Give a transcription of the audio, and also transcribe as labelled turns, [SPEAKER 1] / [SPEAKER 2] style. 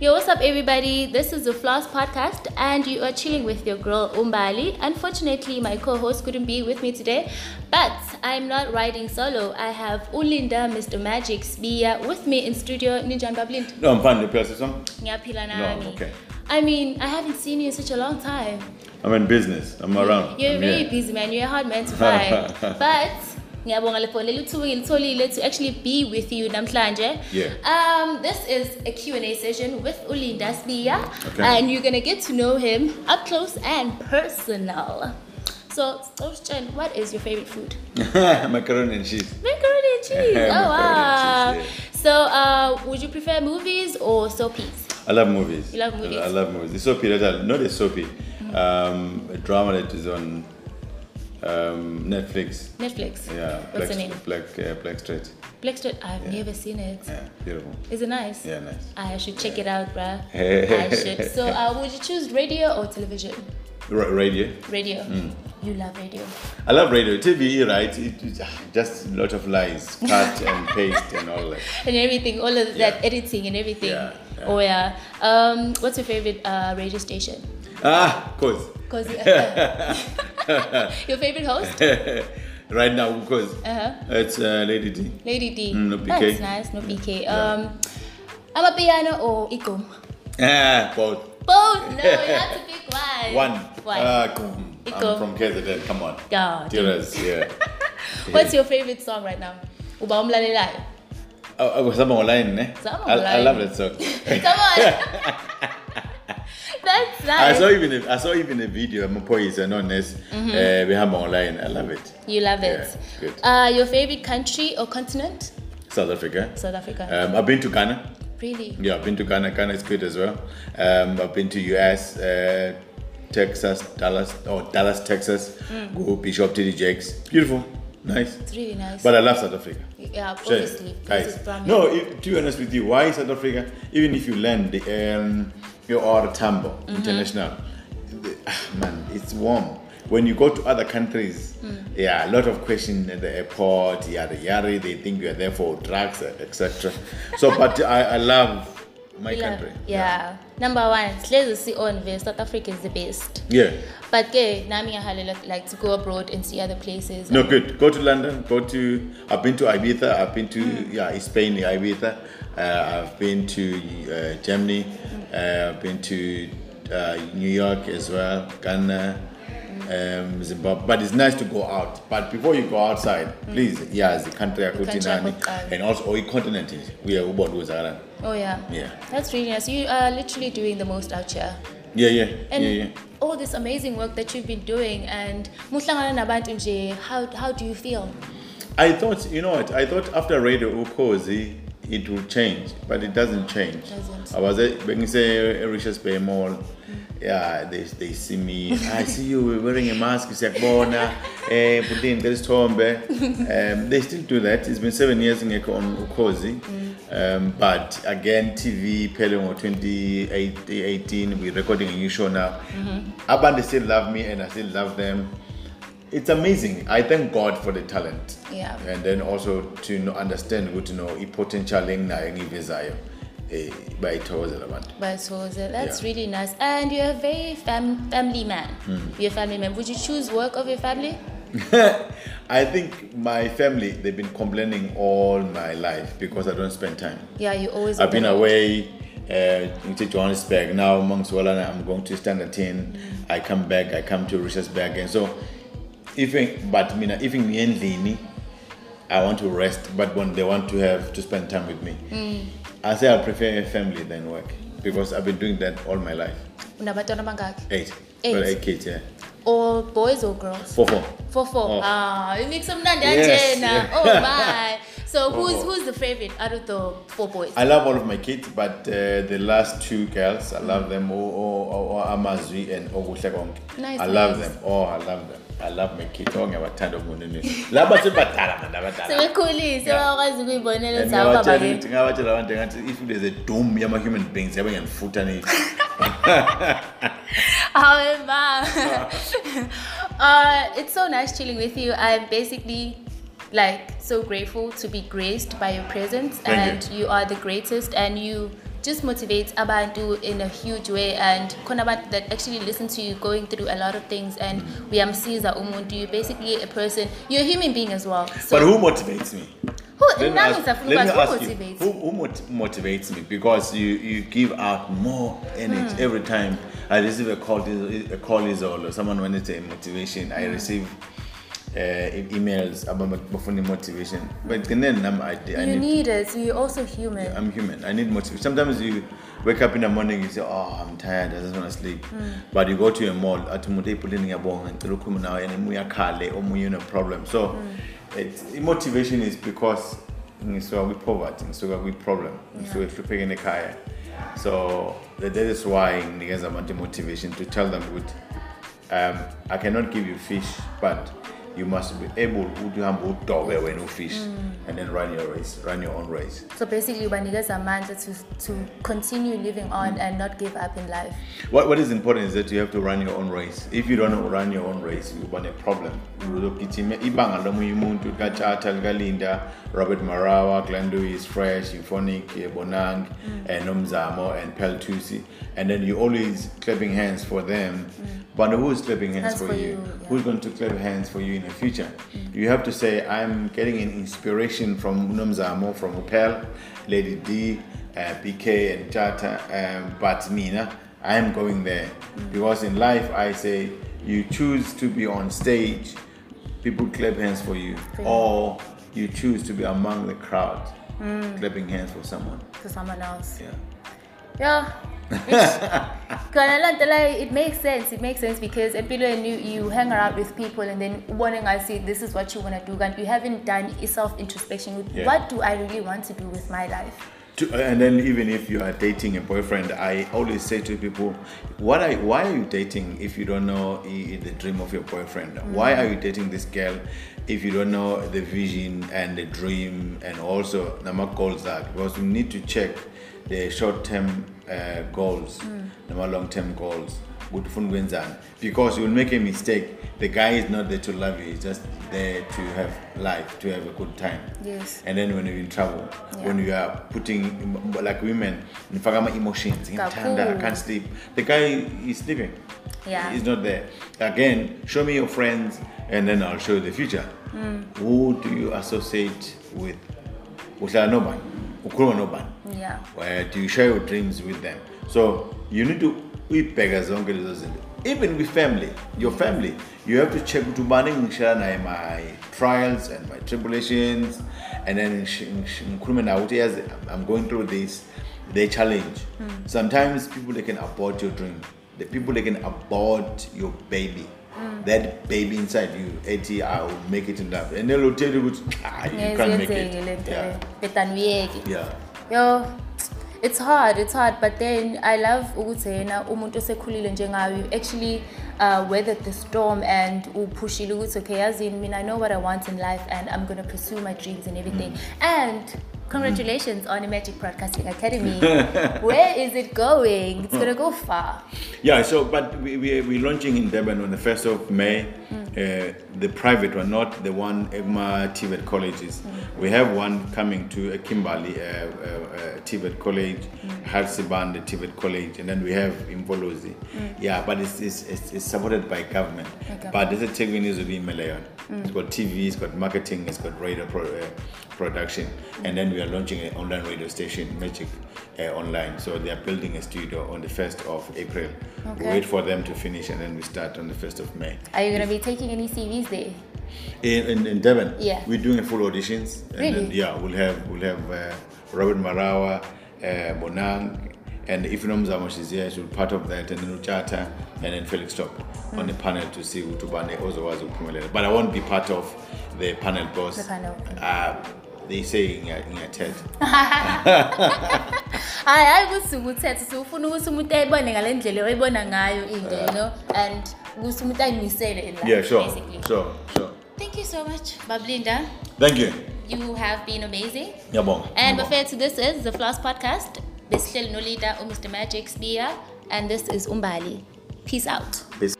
[SPEAKER 1] Yo, what's up, everybody? This is the Floss Podcast, and you are chilling with your girl Umbali. Unfortunately, my co host couldn't be with me today, but I'm not riding solo. I have Ulinda, Mr. Magic, Spia with me in studio. Ninja Bablind.
[SPEAKER 2] No, I'm fine. Play song.
[SPEAKER 1] Ngiyaphila
[SPEAKER 2] No,
[SPEAKER 1] nami.
[SPEAKER 2] okay.
[SPEAKER 1] I mean, I haven't seen you in such a long time.
[SPEAKER 2] I'm in business. I'm around.
[SPEAKER 1] You're
[SPEAKER 2] I'm
[SPEAKER 1] very
[SPEAKER 2] here.
[SPEAKER 1] busy, man. You're a hard man to find. but ngiyabonga lapho leli thuba ngilitholile to actually be with you namhlanje
[SPEAKER 2] Yeah.
[SPEAKER 1] um, this is a q&a session with ulinda sbiya
[SPEAKER 2] Okay.
[SPEAKER 1] and you're gonna get to know him up close and personal so Sicela, what is your favorite food
[SPEAKER 2] Macaroni and cheese.
[SPEAKER 1] macaroni and cheese oh
[SPEAKER 2] Macaroni and
[SPEAKER 1] wow
[SPEAKER 2] cheese,
[SPEAKER 1] so uh, would you prefer movies or soapies
[SPEAKER 2] I love movies.
[SPEAKER 1] You love movies? Mm-hmm.
[SPEAKER 2] I love movies. The soapy that I not a soapy. Um, a drama that is on um, Netflix.
[SPEAKER 1] netflix
[SPEAKER 2] Yeah.
[SPEAKER 1] what's
[SPEAKER 2] Black,
[SPEAKER 1] the name
[SPEAKER 2] Black, uh, Black Street.
[SPEAKER 1] black Street? i've
[SPEAKER 2] Yeah.
[SPEAKER 1] never seen it. Is
[SPEAKER 2] Yeah. Beautiful.
[SPEAKER 1] it nice
[SPEAKER 2] Yeah. Nice.
[SPEAKER 1] I should check it out, bruh. I should. So, uh, would you choose radio or television?
[SPEAKER 2] Ra- radio.
[SPEAKER 1] Radio.
[SPEAKER 2] Hmm.
[SPEAKER 1] You love radio.
[SPEAKER 2] I love radio. TV, right? It, it, ah, just a lot of lies, cut and paste and all that.
[SPEAKER 1] And everything, all of that
[SPEAKER 2] Yeah.
[SPEAKER 1] editing and everything.
[SPEAKER 2] Yeah, yeah.
[SPEAKER 1] Oh, yeah. Um, what's your favorite uh, radio station?
[SPEAKER 2] Ah, of course.
[SPEAKER 1] Cause your favorite host?
[SPEAKER 2] right now, of course.
[SPEAKER 1] Uh-huh.
[SPEAKER 2] It's uh, Lady D.
[SPEAKER 1] Lady D.
[SPEAKER 2] Mm, no PK.
[SPEAKER 1] That's nice. No PK. Um, I'm a piano or Igom?
[SPEAKER 2] Ah, both.
[SPEAKER 1] Both. No, you have to pick one.
[SPEAKER 2] One.
[SPEAKER 1] One.
[SPEAKER 2] Ah, come.
[SPEAKER 1] Iko.
[SPEAKER 2] I'm from KZN. Come on.
[SPEAKER 1] yeah.
[SPEAKER 2] Dearest, yeah.
[SPEAKER 1] What's your favorite song right now? Uba umlalelayo.
[SPEAKER 2] Oh, oh, Samba Online, ne?
[SPEAKER 1] Samba
[SPEAKER 2] I, I
[SPEAKER 1] Online.
[SPEAKER 2] love that song.
[SPEAKER 1] Come on. That's
[SPEAKER 2] I
[SPEAKER 1] nice.
[SPEAKER 2] saw even a, I saw even a video. I'm a poet, and on this, uh, we have online. I love it.
[SPEAKER 1] You love it.
[SPEAKER 2] Yeah, good.
[SPEAKER 1] Uh, your favorite country or continent?
[SPEAKER 2] South Africa.
[SPEAKER 1] South Africa.
[SPEAKER 2] Um, I've been to Ghana.
[SPEAKER 1] really?
[SPEAKER 2] Yeah, I've been to Ghana. Ghana is good as well. Um, I've been to US, uh, Texas, Dallas, or oh, Dallas, Texas. Go Bishop T D Jakes. Beautiful, nice.
[SPEAKER 1] It's really nice.
[SPEAKER 2] But I love South Africa.
[SPEAKER 1] yeah,
[SPEAKER 2] Sure,
[SPEAKER 1] obviously.
[SPEAKER 2] guys.
[SPEAKER 1] This is from
[SPEAKER 2] No, if, to be honest with you, why South Africa? Even if you land the um, your or Tambo
[SPEAKER 1] Mm-hmm.
[SPEAKER 2] International, the- ah, man, it's warm. When you go to other countries,
[SPEAKER 1] Mm.
[SPEAKER 2] yeah, a lot of question at the airport, yada yada. They think you are there for drugs, etc. So, but I, I love my
[SPEAKER 1] We love-
[SPEAKER 2] country.
[SPEAKER 1] Yeah. Number one, sihlezi si-on vele South Africa is the best.
[SPEAKER 2] Yeah.
[SPEAKER 1] But ke nami ngiyahalela like to go abroad and see other places.
[SPEAKER 2] No, good. Go to London. Go to. I've been to Ibiza. I've been to yeah, Spain, Ibiza. Uh, I've been to uh, Germany. Uh, I've been to uh, New York as well, Ghana, um, Zimbabwe. But it's nice to go out. But before you go outside, please, yeah, it's the country I
[SPEAKER 1] country yakho, uh,
[SPEAKER 2] and also all continent. We are about to Zara.
[SPEAKER 1] Oh yeah.
[SPEAKER 2] Yeah.
[SPEAKER 1] That's really nice. You are literally doing the most out here.
[SPEAKER 2] Yeah, yeah,
[SPEAKER 1] And
[SPEAKER 2] yeah, yeah.
[SPEAKER 1] all this amazing work that you've been doing and muhlangana nabantu nje how how do you feel?
[SPEAKER 2] I thought, you know what? I thought after Radio Ukozi, it will change, but it doesn't change.
[SPEAKER 1] Doesn't.
[SPEAKER 2] I was eh, at when you say Richards Bay Mall. Yeah, they, they see me. I see you we're wearing a mask. It's like bona, eh, Putin, there's Tombe. Um, they still do that. It's been seven years in Eko on Ukozi. Um, but again, TV, Pelon 2018, we're recording a new show now. Abandi still love me and I still love them. It's amazing. I thank God for the talent.
[SPEAKER 1] Yeah.
[SPEAKER 2] And then also to know, understand ukuthi no i-potential enginayo engiyivezayo eh bayithokozela abantu.
[SPEAKER 1] But so the- that's
[SPEAKER 2] Yeah. Hmm.
[SPEAKER 1] really nice. And you're a very fam- family man. You're a family man. Would you choose work over your family?
[SPEAKER 2] I think my family they've been complaining all my life because I don't spend time.
[SPEAKER 1] Yeah, you always.
[SPEAKER 2] I've been away uh, into Johannesburg now amongst Walana I'm going to Standerton. I come back, I come to Richardsburg and so even but mina even ngiyendlini I want to rest but when they want to have to spend time with me. I say I prefer family than work because I've been doing that all my life.
[SPEAKER 1] Unabatwana bangaki?
[SPEAKER 2] Eight.
[SPEAKER 1] Eight.
[SPEAKER 2] Well, eight kids, yeah.
[SPEAKER 1] Or boys or girls?
[SPEAKER 2] Four, four.
[SPEAKER 1] Four four.
[SPEAKER 2] Oh.
[SPEAKER 1] Ah, you make some nanda
[SPEAKER 2] Yes, yeah.
[SPEAKER 1] Oh my. So who's
[SPEAKER 2] Oh.
[SPEAKER 1] who's the favorite out of the four boys?
[SPEAKER 2] I love all of my kids, but uh, the last two girls, I love them. Oh, oh, oh, oh Amazwi and Oguhle Konke.
[SPEAKER 1] Nice,
[SPEAKER 2] I love
[SPEAKER 1] nice.
[SPEAKER 2] them. Oh, I love them. I love my kids. Oh, ngiyabathanda omunene. Laba sebadala man, abadala.
[SPEAKER 1] sebekhulile sebakwazi ukuyibonela
[SPEAKER 2] And
[SPEAKER 1] ukuthi hawu baba
[SPEAKER 2] ngiyabatshela
[SPEAKER 1] ke
[SPEAKER 2] ukuthi- ngiyabatshela abantu ngathi if there's a doom yama-human beings yabe ngiyamfutha ni
[SPEAKER 1] However, uh, it's so nice chilling with you. I'm basically like so grateful to be graced by your presence,
[SPEAKER 2] Thank
[SPEAKER 1] and you. are the greatest, and you just motivates abantu in a huge way and khona abantu that actually listen to you going through a lot of things and
[SPEAKER 2] Mm.
[SPEAKER 1] uyamsiza umuntu you're basically a person you're a human being as well so
[SPEAKER 2] but who motivates me?
[SPEAKER 1] who
[SPEAKER 2] Let me
[SPEAKER 1] nami
[SPEAKER 2] ask-
[SPEAKER 1] ngisafuna
[SPEAKER 2] let me
[SPEAKER 1] ukwazi who
[SPEAKER 2] ask you,
[SPEAKER 1] motivates
[SPEAKER 2] Who, who mot- motivates me? Because you, you give out more energy every time I receive a call, is- a call is all, or someone wanted to motivation. I receive uh, e- emails about before motivation. But then I'm, I, I
[SPEAKER 1] you
[SPEAKER 2] need,
[SPEAKER 1] need it so you're also human
[SPEAKER 2] I'm human. I need motivation. Sometimes you wake up in the morning, you say, "Oh, I'm tired. I just want to sleep." But you go to a mall, atimude ipulini ngiyabonga, ngicela ukukhuluma nawe, and emuya khale, omunye une problem. So, it's motivation is because ngisuka kwi poverty, ngisuka kwi problem, ngisuka ehluphekeni ekhaya. So that that is why nginikeza abantu motivation to tell them ukuthi um, I cannot give you fish, but you must be able ukuhamba udobe wena ufish and then run your race, run your own race.
[SPEAKER 1] so basically ubanikeza amandla to, to continue living
[SPEAKER 2] Mm.
[SPEAKER 1] on and not give up in life
[SPEAKER 2] What, what is important is that you have to run your own race. If you don't run your own race, you run a problem. Uzogijima ibanga lomunye umuntu likathatha likalinda robert marawa glenn lewis fresh euphonic eh, bonang eh, nomzamo and peltusi and then you're always clapping hands for them but who's clapping Mm. hands
[SPEAKER 1] Hands
[SPEAKER 2] for,
[SPEAKER 1] for
[SPEAKER 2] you,
[SPEAKER 1] you, yeah.
[SPEAKER 2] who's going to clap hands for you in the future you have to say i'm getting an inspiration from nomzamo from upel lady d uh, bk and jata um, but mina i'm going there because in life i say you choose to be on stage people clap hands for you
[SPEAKER 1] For you.
[SPEAKER 2] or you choose to be among the crowd clapping hands for someone
[SPEAKER 1] to someone else
[SPEAKER 2] yeah
[SPEAKER 1] yeah Kona lento leyo, it makes sense it makes sense because empilweni you, you hang around with people and then ubone ngathi this is what you want to do kanti you haven't done i-self introspection
[SPEAKER 2] Yeah.
[SPEAKER 1] what do i really want to do with my life
[SPEAKER 2] To, and then even if you are dating a boyfriend, I always say to people, what are, why are you dating if you don't know i- the dream of your boyfriend? Why are you dating this girl if you don't know the vision and the dream and also nama goals that? Because you need to check the short-term uh, goals, nama long-term goals. ukuthi ufuna ukwenzani. Because you'll make a mistake. The guy is not there to love you, he's just there to have life, to have a good time.
[SPEAKER 1] Yes.
[SPEAKER 2] And then when you're in trouble,
[SPEAKER 1] Yeah.
[SPEAKER 2] when you are putting like women nifaka my emotions ngimthanda i
[SPEAKER 1] Kakhulu.
[SPEAKER 2] can't sleep the guy is sleeping
[SPEAKER 1] Yeah.
[SPEAKER 2] he's not there again show me your friends and then i'll show you the future
[SPEAKER 1] Hmm.
[SPEAKER 2] who do you associate with uhlala nobani ukhuluma nobani
[SPEAKER 1] yeah
[SPEAKER 2] where do you share your dreams with them so you need to uyibheka zonke lezo zinto even with family your family you have to check ukuthi ubani engishara naye my trials and my tribulations and then ngish- ngish- ngikhulume nawe ukuthi yazi I'm- i'm going through this they challenge sometimes people they can abort your dream the people they can abort your baby that baby inside you ethi i will make it in life and they'll tell you ukuthi "Ah, you can't make
[SPEAKER 1] ngezenzeke
[SPEAKER 2] it
[SPEAKER 1] lento
[SPEAKER 2] yeah,
[SPEAKER 1] leyo bedani uyeke
[SPEAKER 2] yeah.
[SPEAKER 1] yo it's hard it's hard but then i love ukuthi yena umuntu osekhulile njengayo you actually uh, weathered the storm and uphushile ukuthi okay yazini mina i know what i want in life and i'm going to pursue my dreams and everything
[SPEAKER 2] Mm.
[SPEAKER 1] and congratulations on the magic broadcasting academy where is it going it's going to go far
[SPEAKER 2] Yeah, so but we, we, we're launching in Durban on the 1st of May, uh, the private one, not the one EGMA TVET colleges. We have one coming to uh, Kimberley, uh, uh, uh, TVET College, Halsiban, the TVET College, and then we have Imbolozi. Yeah, but it's, it's, it's, it's supported by government.
[SPEAKER 1] Mm. Okay. Mm.
[SPEAKER 2] But there's a tailwind is within Malayan. It's got TV, it's got marketing, it's got radio pro, uh, production,
[SPEAKER 1] Mm.
[SPEAKER 2] and then we are launching an online radio station, Magic uh, Online. So they are building a studio on the 1st of April. We
[SPEAKER 1] Okay.
[SPEAKER 2] wait for them to finish, and then we start on the 1st of May.
[SPEAKER 1] are you going to be taking any cvs there
[SPEAKER 2] In, in, in Devon,
[SPEAKER 1] Yeah.
[SPEAKER 2] we're doing a full auditions, and then
[SPEAKER 1] Really?
[SPEAKER 2] yeah, we'll have we'll have uh, Robert Marawa, uh, Bonang, and if Nomzamo she's here, she'll be part of that, and then Uchata, and then Felix Top on the panel to see Utubane Ozawazi Uphumelele. But I won't be part of the panel boss.
[SPEAKER 1] The panel.
[SPEAKER 2] Uh, they say in your, in your TED.
[SPEAKER 1] hayi hayi kusuke uthethe siufuna ukuthi umuntu ayibone ngale ndlela oyibona ngayo into you know and ukuthi umuntu ayimisele in life
[SPEAKER 2] yeah, sure,
[SPEAKER 1] basically
[SPEAKER 2] sure, sure.
[SPEAKER 1] thank you so much bablinda
[SPEAKER 2] Thank you.
[SPEAKER 1] you have been amazing
[SPEAKER 2] Ngiyabonga.
[SPEAKER 1] and
[SPEAKER 2] Ngiyabonga.
[SPEAKER 1] bafethu this is the floss podcast besihleli nolida umr magic spear and this is umbali peace out
[SPEAKER 2] Peace.